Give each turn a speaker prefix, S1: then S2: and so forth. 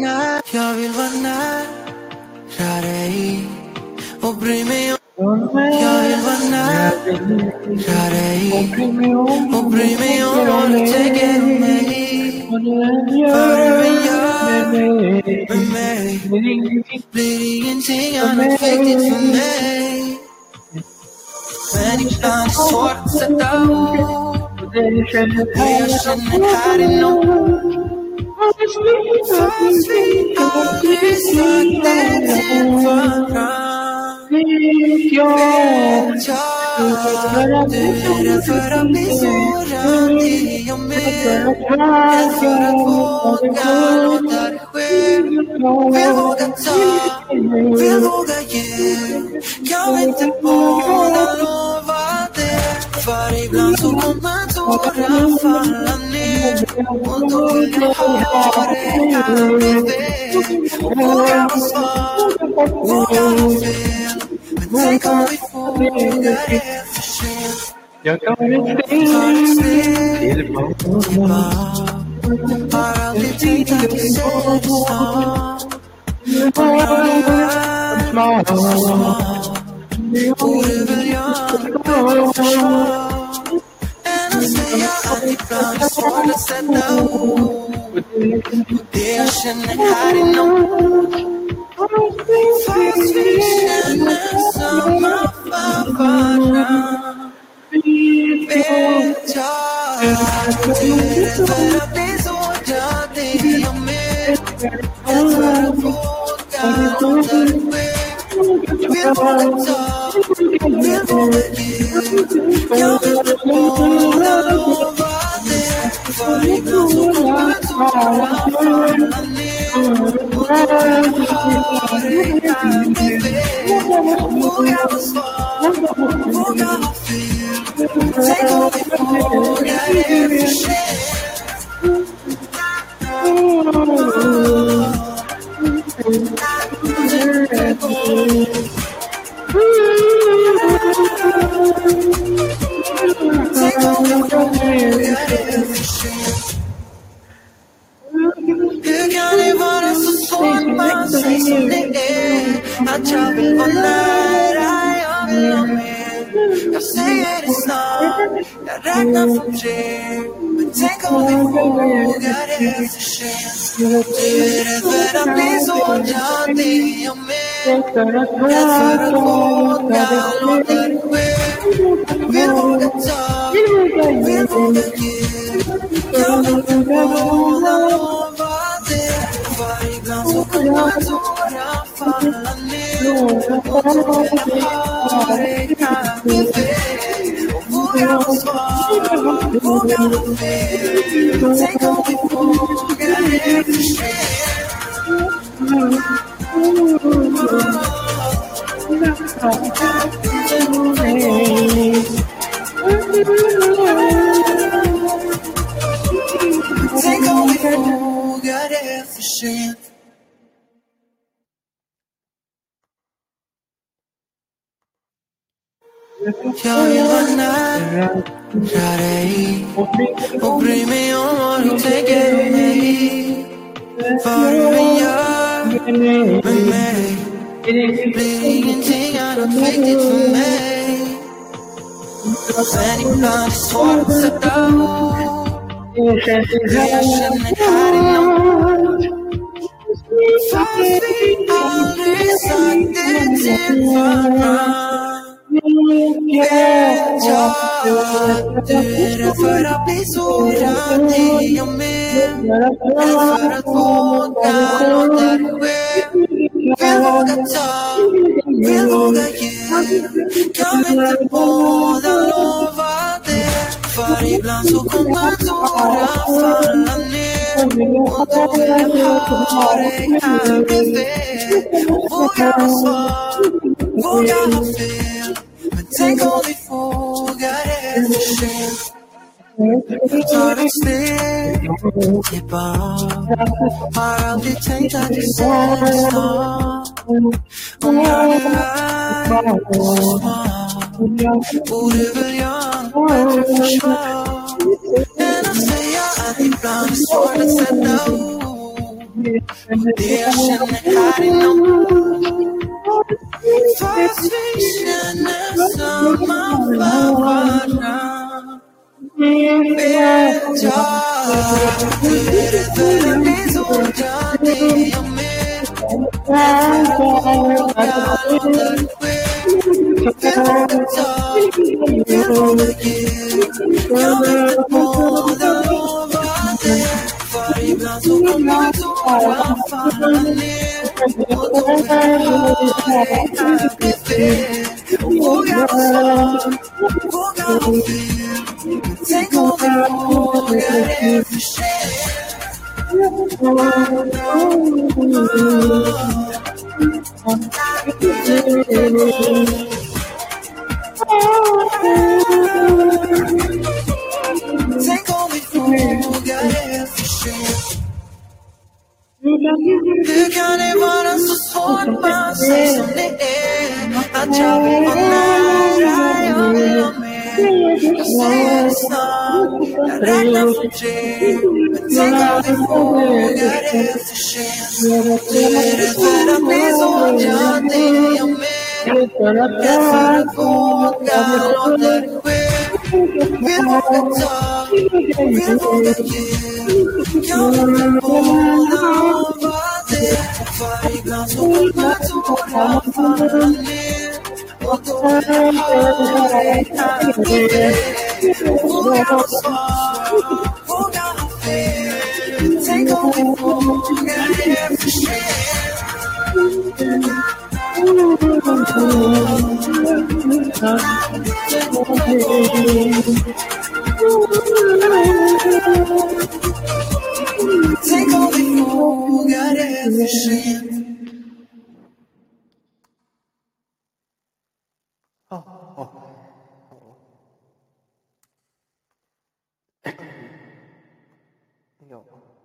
S1: när Jag vill vara nära dig och bry mig om Jag vill vara nära dig och bry mig om vad du tänker om mig Vad du än gör med mig blir ingenting annat viktigt för mig Men ibland är det svårt att sätta ord hur jag känner här inom Fast vi aldrig satt det till varandra Vet jag Du är rädd för att bli sårad Det är jag med Rädd för att våga låta det ske Vill våga ta Vill våga ge Kan inte båda lova det För ibland så kommer tårar falla ner Och då vill jag ha dig här bredvid Våga vara svag Våga ha fel men tänk om vi vågar är för sent För ett svek har aldrig tänkt att du säger snart Om jag nu är så svag Borde väl jag bättre försvar Än att säga att ibland är svårt att sätta ord Det jag känner här inom Fast vi känner samma för varandra vet jag Du är rädd för att bli sårad, det är jag med Rädd för att våga låta det ske Vill våga ta, vill våga ge Jag vill att båda lovar det För ibland så kommer tårar falla ner Och då vill jag ha dig här bredvid Våga vara svag, våga ha fel Tänk om vi vågar är för sent Tänk om vi vågar är för sent Hur kan det vara så svårt att man säger som det är? Att jag vill vara nära, jag vill ha mer Jag säger det snart, jag räknar från tre Men tänk om vi vågar är för sent Du är rädd för att bli sårad, ja det är jag med Rädd för att våga låta det ske Vill våga ta, vill våga ge Jag vill våga lova det För ibland så kommer tårar falla ner Och då vill jag ha dig här bredvid Och våga vara svag, våga ha fel Tänk om vi vågar är för sent Tänk om vi vågar är för sent Jag vill vara nära dig och bry mig om vad du tänker om mig. Vad du än gör med mig blir ingenting annat viktigt för mig. Men ibland är det svårt att sätta ord hur jag känner här inom. Fast vi aldrig sagt det till varandra. Vet jag att du är rädd för att bli sårad, det är jag med. Rädd för att våga låta det ske. Vill våga ta, vill våga ge. Kan inte båda lova det. För ibland så kommer tårar falla ner. Och då vill jag ha dig här bredvid. Och våga vara svag, våga ha fel. Men tänk om vi vågar är för sent. Tar ett steg tillbaka. Har aldrig tänkt att du säger snart. Om jag nu är så svag. Borde väl jag ha bättre försvar än att säga att ibland är svårt att sätta ord Deus é nectar e não Faz vista nessa malvada Perdoar Perdoar-lhes o grande amor Sem como fuga fechou Hükane bana sus sorma sesini Açalım bana Yo sé estar La regla fuge Tengo de fugar ese shen Eres para mí soña te llamé Ya se fuga lo te fue Vivo que tal Vivo que quiero Yo no puedo fazer Vargas o formato para valer O dono está aqui Fuga só Fuga no fim Sem como fuga é fugir Sem como fuga é fugir
S2: Yo.